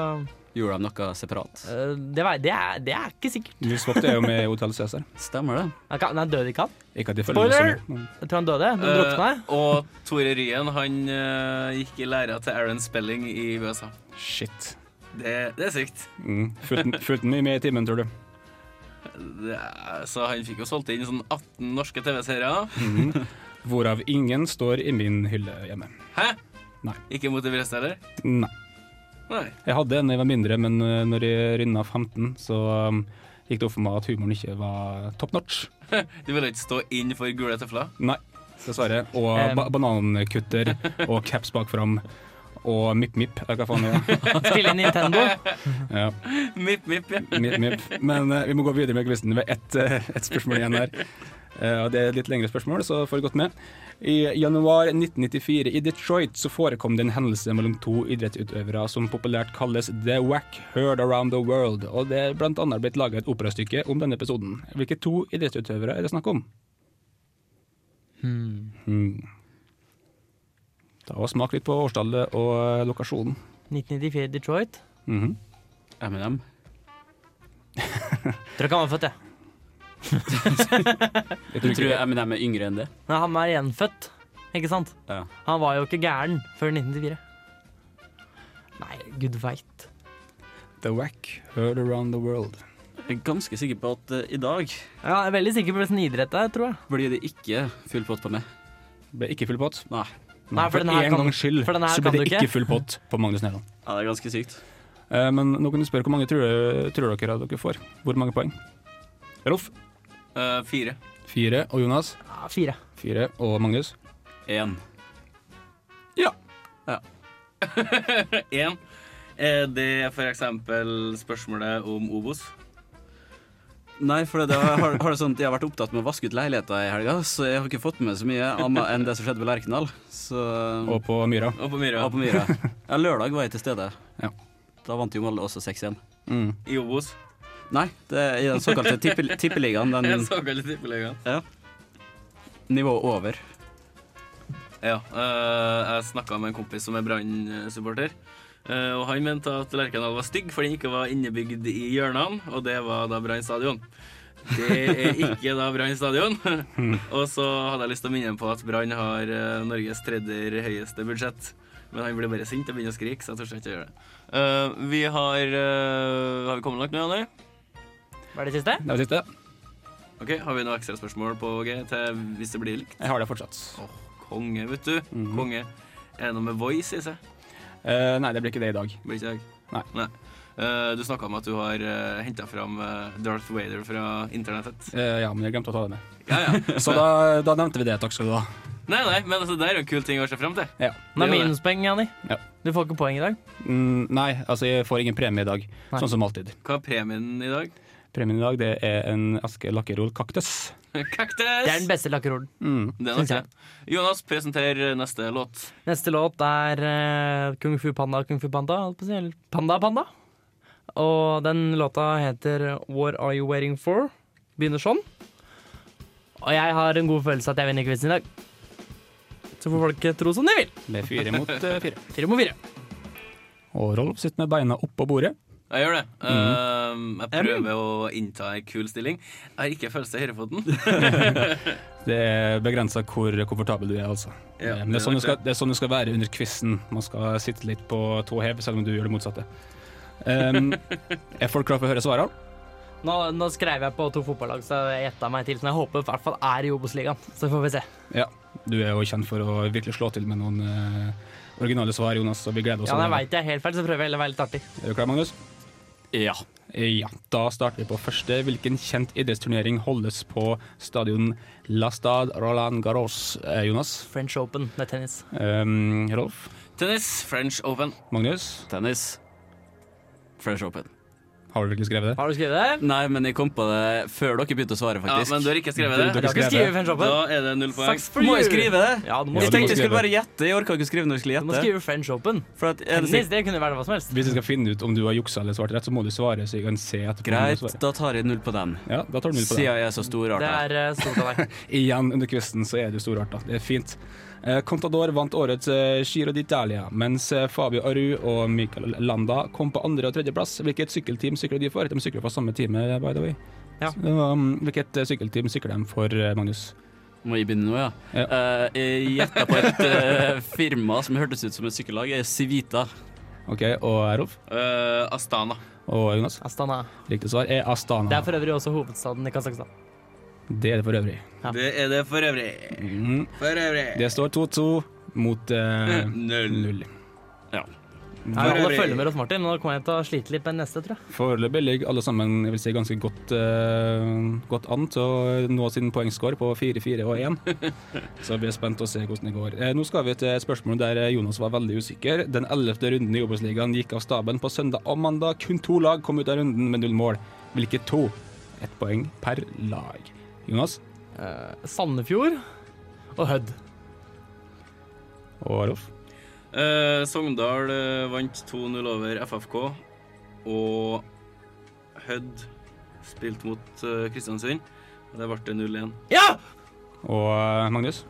E: Gjorde de noe separat?
F: eh, det, var, det, er, det er ikke sikkert.
D: Nils Vogt er jo med i Hotell Cæsar.
E: Stemmer det.
F: Han, kan, nei, døde ikke han?
D: Ikke at de følger
F: Spoiler!
D: med så mye.
F: Jeg tror han døde. Han
H: Eh,
F: drukna.
H: og Tore Ryen han eh, gikk i læra til Aaron Spelling i USA.
D: Shit.
H: Det, det er sykt.
D: Mm. Fulgte den- fulgte den mye med i timen, tror du?
H: Det er, Eh, så han fikk jo solgt inn sånn 18 norske TV-serier.
D: Hvorav ingen står i min hylle hjemme.
H: Hæ?
D: Nei.
H: Ikke mot de fleste, eller?
D: Nei.
H: Nei.
D: Jeg hadde en da jeg var mindre, men eh, når jeg runda 15, så um, gikk det opp for meg at humoren ikke var top notch.
H: Du ville ikke stå inn for gule tøfler?
D: Nei, dessverre. Og
F: Um.
D: ba banankutter og caps bak fram. Og mipp-mipp, eller hva faen det var.
F: Spille Nintendo.
D: Ja,
H: Mipp, mipp, ja.
D: mipp-mipp. Men eh, vi må gå videre med quizen med ett eh, ett spørsmål igjen her. Eh, og det er et litt lengre spørsmål, så får godt med. I januar 1994 i Detroit så forekom det en hendelse mellom to idrettsutøvere som populært kalles The Wack Heard Around The World, og det er blant annet blitt laget et operastykke om denne episoden. Hvilke to idrettsutøvere er det snakk om? Hmm. Ta og Smak litt på årstallet og eh, lokasjonen.
F: 1994 Detroit.
D: Mhm.
E: M&M.
F: Tror ikke han var født, jeg.
D: Jeg
E: Du
D: tror
E: tror
D: ikke-
E: M&M er yngre enn det?
F: Nei, han er gjenfødt, ikke sant?
E: Ja.
F: Han var jo ikke gæren før 1994. Nei, gud veit.
D: The Wack Heard Around The World.
E: Jeg er ganske sikker på at eh, i dag
F: Ja, jeg er veldig sikker på hvordan idrett det er, tror jeg.
E: blir det ikke full pott på meg.
D: Ble ikke full pott.
E: Nei.
F: Nei, for den her
D: en
F: kan-
D: gangs skyld
F: for den her
D: så
F: kan
D: ble
F: du
D: det
F: ikke.
D: ikke full pott på Magnus Næland.
E: Ja, det er ganske sykt.
D: Eh, Men nå kan du spørre hvor mange tror, tror dere at dere får? Hvor mange poeng? Rolf?
H: Eh, fire.
D: Fire. Og Jonas?
F: Ja, fire.
D: Fire. Og Magnus?
E: Én.
H: Én. Er Eh, det for eksempel spørsmålet om Obos?
E: Nei, for det, har, har, har det sånn at jeg har vært opptatt med å vaske ut leiligheter i helga, så jeg har ikke fått med så mye annet enn det som skjedde på Lerkendal. Så
D: Og på Myra?
H: Og på Myra?
E: Ja, på Myra. Ja, lørdag var jeg til stede.
D: Ja.
E: Da vant jo Molde også 6-1.
D: Mm.
H: I Obos?
E: Nei, det er i den såkalte tippe, tippeligaen.
H: Den
E: Den
H: såkalte tippeligaen.
E: nivået over.
H: Ja. eh, jeg snakka med en kompis som er Brann-supporter. Eh, Og han mente at Lerkendal var stygg fordi den ikke var innebygd i hjørnene, og det var da Brann stadion. Det er ikke da Brann stadion. Og så hadde jeg lyst til å minne ham på at Brann har eh, Norges tredje høyeste budsjett. Men han blir bare sint og begynner å skrike, så jeg tør ikke å gjøre det. Eh, vi har eh, Har vi kommet langt nå, Janne?
F: Var det siste?
D: Det var siste.
H: Ok, Har vi noe ekstra spørsmål på G til hvis det blir likt?
D: Jeg har det fortsatt.
H: Åh, konge, vet du. Konge. Er det noe med voice i seg?
D: Eh, nei, det blir ikke det i dag.
H: Blir ikke jeg?
D: Nei.
H: Eh, du snakka om at du har uh, henta fram eh, Darth Vader fra internettet.
D: Eh, ja, men jeg glemte å ta det med.
H: Ja, ja.
D: Så da, da nevnte vi det. Takk skal du ha.
H: Nei, nei, men altså, det er jo en kul ting å se fram til.
D: Ja.
F: Nå er minuspoeng, Janni.
D: Ja.
F: Du får ikke poeng i dag.
D: Mm, nei, altså jeg får ingen premie i dag,
F: Nei.
D: sånn som alltid.
H: Hva er premien i dag?
D: Premien i dag det er en Aske Lakkerol kaktus.
H: Kaktus!
F: Det er den beste lakkerolen.
D: Mm.
H: Det er nok det. Jonas, presenter neste låt.
F: Neste låt er eh, Kung Fu Panda, Kung Fu Panda. holdt på å si, eller Panda, Panda. Og den låta heter What Are You Waiting For? Begynner sånn. Og jeg har en god følelse at jeg vinner quizen i dag. Så får folk tro som de vil.
D: Det er fire mot eh, fire.
F: Fire mot fire.
D: Og Rolf sitter med beina oppå bordet.
H: Jeg gjør det. Eh, jeg prøver å innta en kul stilling. Jeg har ikke følelse i høyrefoten.
D: Det er begrensa hvor komfortabel du er, altså.
H: Ja,
D: Eh, Men det er,
H: det er
D: sånn du
H: nok
D: skal, det er sånn du skal være under quizen. Man skal sitte litt på tå hev, selv om du gjør det motsatte. Um, er folk klare for å høre svarene?
F: Nå, nå skrev jeg på to fotballag, så jeg gjetta meg til. Så jeg håper i hvert fall er i Obos-ligaen. Så får vi se.
D: Ja. Du er jo kjent for å virkelig slå til med noen eh, originale svar, Jonas, og vi gleder oss.
F: Ja, når jeg
D: allerede.
F: veit jeg er helt feil, så prøver jeg heller å være litt artig.
D: Er du klar, Magnus? Ja. Ja, Da starter vi på første. Hvilken kjent idrettsturnering holdes på stadion La Stade Roland Garros? Eh, Jonas?
F: French Open med tennis.
D: Um, Rolf?
H: Tennis. French Open.
D: Magnus?
E: Tennis. French Open.
D: Har du virkelig skrevet det?
F: Har du skrevet det?
E: Nei, men jeg kom på det før dere begynte å svare,
H: Ja,
E: faktisk.
H: men du har ikke skrevet det.
E: Du-
F: Du
E: du
F: har ikke skrevet French Open.
H: Da er det null poeng.
F: Sucks for
E: Må jeg
F: you.
E: skrive det?
F: Ja, du må
D: Ja, du må
E: Jeg tenkte jeg skulle
D: skrive
E: bare gjette. Jeg orka ikke å skrive når jeg skulle
F: Du må
E: gjette.
F: skrive French Open.
E: For at, er det
F: Tennis,
E: sikkert?
F: det kunne vært hva som helst.
D: Hvis jeg skal finne ut om du har juksa eller svart rett, så må du svare, så jeg kan se etterpå. om du
E: Greit,
D: svarer.
E: da tar jeg null på den.
D: Ja, da tar du null på det.
E: Siden jeg er så
F: Det
E: storarta.
F: er eh, stort av deg.
D: Igjen under quizen så er du storarta. Det er fint. Eh, Contador vant årets eh, Giro d'Italia, mens eh, Fabio Aru og Michael Landa kom på andre- og tredjeplass. Hvilket sykkelteam sykler de for? De sykler for samme time, eh, by the way.
F: Ja.
D: Så, um, hvilket eh, sykkelteam sykler de for, eh, Magnus?
E: Må jeg begynne nå, ja?
D: Ja.
E: Eh, jeg gjetta på et eh, firma som hørtes ut som et sykkellag. eh, Civita.
D: OK, og Rolf
H: Eh, Astana.
D: og Jonas?
F: Astana.
D: Riktig svar er Astana.
F: Det er for øvrig også hovedstaden i Kasakhstan.
D: Det er det for øvrig.
F: Ja.
H: Det er det for øvrig.
D: Mhm.
H: For øvrig.
D: Det står 2-2 mot eh,
H: Null.
D: null.
E: Ja.
F: Nei, alle følger med oss, Martin. Nå kommer jeg til å slite litt med den neste, tror jeg.
D: Foreløpig ligger alle sammen jeg vil si, ganske godt, eh, godt an til å nå sin poengscore på 4-4 og 1. Så vi er spent å se hvordan det går. Eh, nå skal vi til et spørsmål der eh, Jonas var veldig usikker. Den 11. runden i Obos-ligaen gikk av staben på søndag og mandag. Kun to lag kom ut av runden med null mål. Hvilke to? Ett poeng per lag. Jonas
F: Eh, Sandefjord og Hødd.
D: og Rolf.
H: Eh, Sogndal eh, vant 2-0 over FFK, og Hødd spilte mot eh, Kristiansund. og Det ble 0-1.
F: Ja!
D: Og eh, Magnus.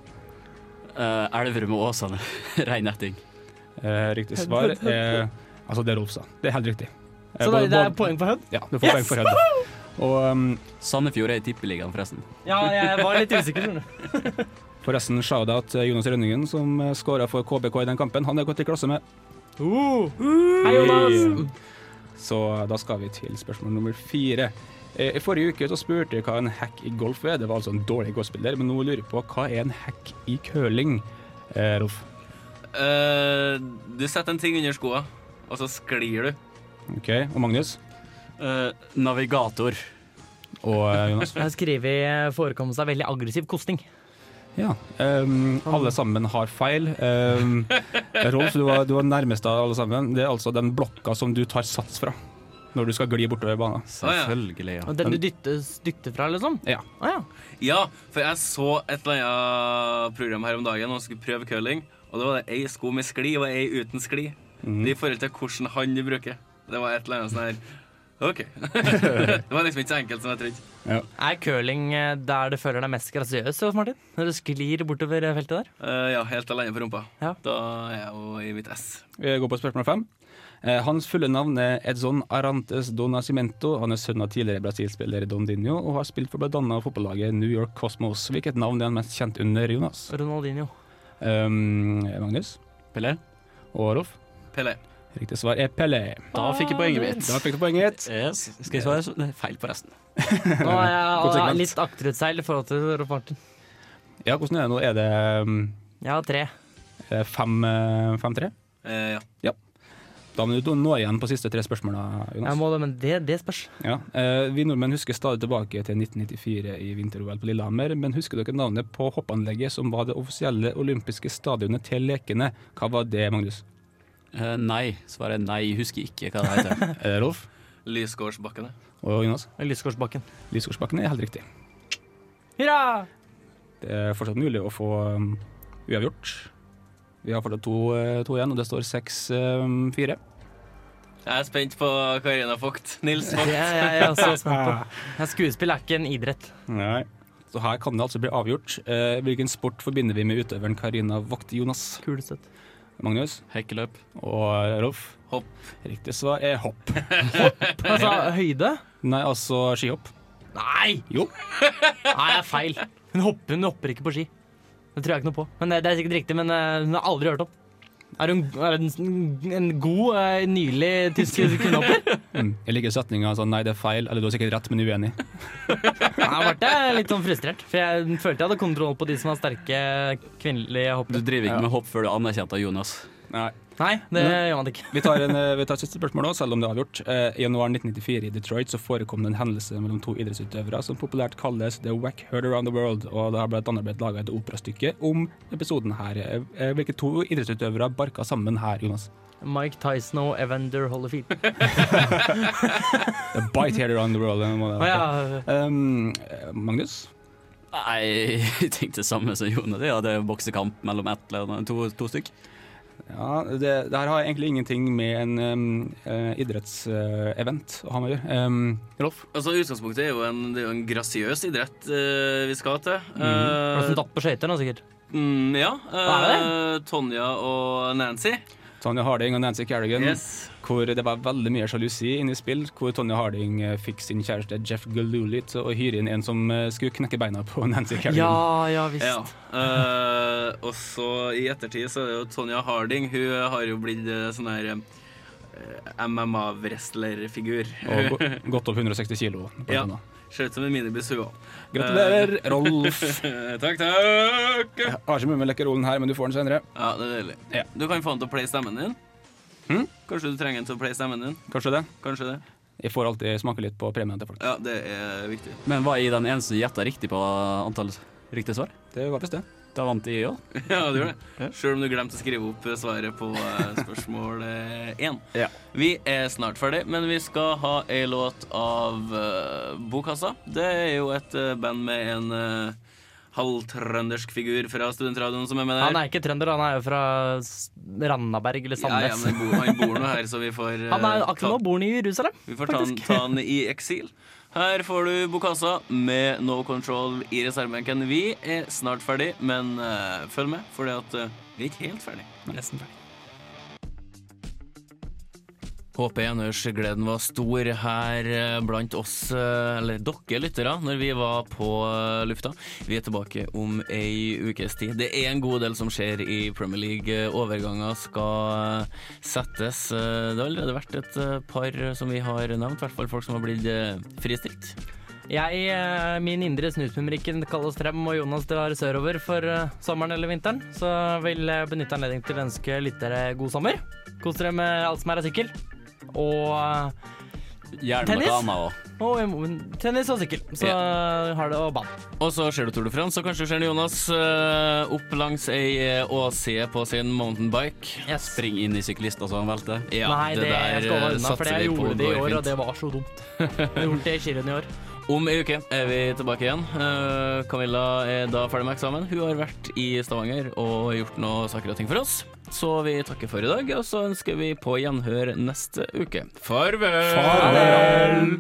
E: Uh, Elverum og Åsane. Rein etting.
D: Eh, riktig svar er Altså, det Rolf sa. Det er helt riktig. Eh,
F: Så det,
D: både-
F: det er
D: både-
F: poeng for Hødd?
D: Ja, du får poeng for Hødd. da. Og um,
E: Sandefjord er i tippeligaen, forresten.
F: Ja, jeg var litt usikker, skjønner du.
D: Forresten, shout-out til Jonas Rønningen, som skåra for KBK i den kampen. Han er gått i klasse med.
F: Hei, Jonas.
D: Så da skal vi til spørsmål nummer fire. Eh, I forrige uke så spurte jeg hva en hack i golf er. Det var altså en dårlig golfspiller, men nå lurer jeg på hva er en hack i curling, eh, Rolf?
H: Eh, du setter en ting under skoa, og så sklir du.
D: OK. Og Magnus?
E: Eh, navigator.
D: Og eh, Jonas?
F: Jeg har skrevet forekomst av veldig aggressiv kosting.
D: Ja. ehm, alle sammen har feil. Ehm, Rolf, du var, du var nærmest av alle sammen. Det er altså den blokka som du tar sats fra når du skal gli bortover banen.
E: Selvfølgelig, ja.
F: Og Den du dytter, dytter fra, liksom?
D: Ja.
F: Å ja.
H: Ja, for jeg så et eller annet program her om dagen og skulle prøve curling, og det var det ei sko med skli og ei uten skli. Det er I forhold til hvilken hånd du bruker. Det var et eller annet sånn her OK. det var liksom ikke så enkelt som jeg trodde.
F: Er curling eh, der du føler deg mest grasiøs, Rolf Martin? Når du sklir bortover feltet der?
H: Eh, ja, helt Eh, alene på rumpa.
F: Ja.
H: Da er jeg jo i mitt ess.
D: Vi går på spørsmål fem. Eh, Hans fulle navn er Edson Arantes do Nascimento. Han er sønn av tidligere Brasil-spiller Dondinho og har spilt for bl.a. fotballaget New York Cosmos. Hvilket navn er han mest kjent under, Jonas?
F: Ronaldinho.
D: Um, Magnus? Pelé. Og Rolf?
H: Pelé.
D: Riktig svar er Pelé.
H: Da fikk jeg poenget mitt.
D: Da fikk du poenget ditt.
E: Yes. Skal jeg svare så- Nei, feil på resten?
F: Nå er
D: Godt
F: jeg
D: segment.
F: litt akterutseil i forhold til Rolf Martin.
D: Ja, hvordan er det nå? Er det um,
F: Jeg har tre.
D: er det fem, eh, fem-tre?
H: Eh, ja.
D: Ja. Da må du nå igjen på siste tre spørsmåla, Jonas.
F: Jeg må det, men det, det spørs.
D: Ja. eh, Vi nordmenn husker stadig tilbake til 1994 i vinter-OL på Lillehammer, men husker dere navnet på hoppanlegget som var det offisielle olympiske stadionet til lekene? Hva var det, Magnus?
E: Eh, nei. Svaret er nei, jeg husker ikke hva det heter.
D: Eh, Rolf
H: Lysgårdsbakkene.
D: og Jonas?
F: Lysgårdsbakken.
D: Lysgårdsbakken er helt riktig.
F: Hurra!
D: Det er fortsatt mulig å få um, uavgjort. Vi har fortsatt to, eh, to igjen, og det står um, seks-fire.
H: Jeg er spent på Karina Vogt. Nils Vogt.
F: Jeg, jeg, jeg er også spent på. Ja, Skuespill er ikke en idrett.
D: Nei. Så her kan det altså bli avgjort. Eh, hvilken sport forbinder vi med utøveren Karina Vogt Jonas?
F: Kulestøt.
D: Magnus?
E: Hekkeløp.
D: Og eh, Rolf?
H: Hopp.
D: Riktig svar er hopp.
F: Altså høyde?
D: Nei, altså skihopp.
F: Nei!
D: Jo.
F: Nei, det er feil. Hun hopper, hun hopper ikke på ski. Det tror jeg ikke noe på. Men det, det er sikkert riktig, men eh, hun har aldri hørt om. Er hun, er hun en god, eh, nylig tysk kvinnehopper?
D: Mm. Jeg liker setninga sånn nei, det er feil, eller du har sikkert rett, men uenig.
F: Nei, Jeg ble litt sånn frustrert, for jeg følte jeg hadde kontroll på de som har sterke
E: Du
F: kvinnelige hoppere.
E: driver ikke med hopp før du er anerkjent av Jonas.
D: Nei.
F: Nei, det gjør man ikke.
D: Vi tar, en, eh, vi tar et siste spørsmål også, selv om det er avgjort. Eh, I januar 1994 i Detroit så forekom det en hendelse mellom to idrettsutøvere som populært kalles The Wack Heard Around the World, og det har blant annet blitt laga et operastykke om episoden her. Eh, eh, Hvilke to idrettsutøvere barka sammen her, Jonas?
F: Mike Tyson og Evander Holyfield.
D: The Bite Heard Around the World. det må det
F: Å ja.
D: være. Um, eh, Magnus?
E: Nei, jeg tenkte det samme som Jonas. Ja, det er boksekamp mellom ett eller annet- to, to stykk.
D: Ja, det, det her har egentlig ingenting med en um, idrettsevent å ha med å gjøre. Um, Rolf?
H: Altså, utgangspunktet er jo en, det er jo en grasiøs idrett eh, vi skal til.
F: Var det
H: Eh,
F: som datt på skøyter nå, sikkert?
H: mm, ja.
F: Hva
H: eh, Tonja og Nancy.
D: Tonja Harding og Nancy Kerrigan,
H: Yes.
D: hvor det var veldig mye sjalusi inne i spill, hvor Tonja Harding eh, fikk sin kjæreste Jeff Galooly til å hyre inn en som eh, skulle knekke beina på Nancy Kerrigan.
F: Ja, ja visst.
H: Ja. Eh, og så i ettertid så er det jo Tonja Harding. Hun har jo blitt eh, sånn her eh, MMA-wrestlerfigur.
D: Og gå- gått opp 160 kilo. blant
H: Ja.
D: annet.
H: Ser ut som en minibuss, hun òg.
D: Gratulerer, Rolf.
H: Eh, Takk, takk.
D: Jeg har ikke med meg lekkerolen her, men du får den senere.
H: Ja, det er deilig.
D: Ja.
H: Du kan få han til å play stemmen din.
D: Hm?
H: Kanskje du trenger han til å play stemmen din.
D: Kanskje det.
H: Kanskje det.
D: Jeg får alltid smake litt på premien til folk.
H: Ja, det er viktig.
E: Men var jeg den eneste som gjetta riktig på antall riktige svar?
D: Det var visst det.
E: Da vant jeg òg.
H: Ja, du gjør det. Sjøl om du glemte å skrive opp svaret på eh, spørsmål eh, én.
E: Ja.
H: Vi er snart ferdig, men vi skal ha ei låt av eh, Bokassa. Det er jo et eh, band med en uh, halvtrøndersk figur fra studentradioen som er med der.
F: Han er ikke trønder, han er jo fra S- Randaberg eller
H: ja,
F: Sandnes.
H: ja, men bo, han bor nå her, så vi får eh,
F: han er akkurat nå
H: ta-
F: bor han i Jerusalem.
H: Vi får ta han, ta han i eksil. Her får du Bokassa med No Control i reservebenken. Vi er snart ferdig, men eh, følg med, for vi er ikke helt ferdig. Nesten ferdig. Håper gjenhørsgleden var stor her eh, blant oss, eh, eller dere lyttere, når vi var på eh, lufta. Vi er tilbake om ei ukes tid. Det er en god del som skjer i Premier League. Eh, Overganger skal eh, settes. Eh, Det har allerede vært et eh, par som vi har nevnt, i hvert fall folk som har blitt eh, fristilt.
F: Jeg, eh, min indre snusmumrikken kalles frem, og Jonas drar sørover for eh, sommeren eller vinteren. Så vil jeg benytte anledningen til å ønske lyttere god sommer. Kos dere med alt som er av sykkel. Og, eh,
E: Gjerne
F: Tennis?
E: noe annet òg.
F: og eh, tennis og sykkel. Så eh, har det og bad.
H: Og så ser du Tour de France, og kanskje ser du Jonas eh, opp langs ei eh, åsside på sin mountainbike.
F: Yes.
E: Spring inn i sånn, syklister så han velter.
H: Ja,
F: Nei, det,
H: der,
F: skal jeg holde
H: eh,
F: unna,
H: satser
F: for jeg
H: vi på
F: gjorde det i
H: går
F: år,
H: fint.
F: og det var så dumt. Jeg har gjort det i Kirin i år.
H: Om ei uke er vi tilbake igjen. Eh, Camilla er da ferdig med eksamen. Hun har vært i Stavanger og gjort noe saker og ting for oss. Så vi takker for i dag, og så ønsker vi på gjenhør neste uke. Farvel!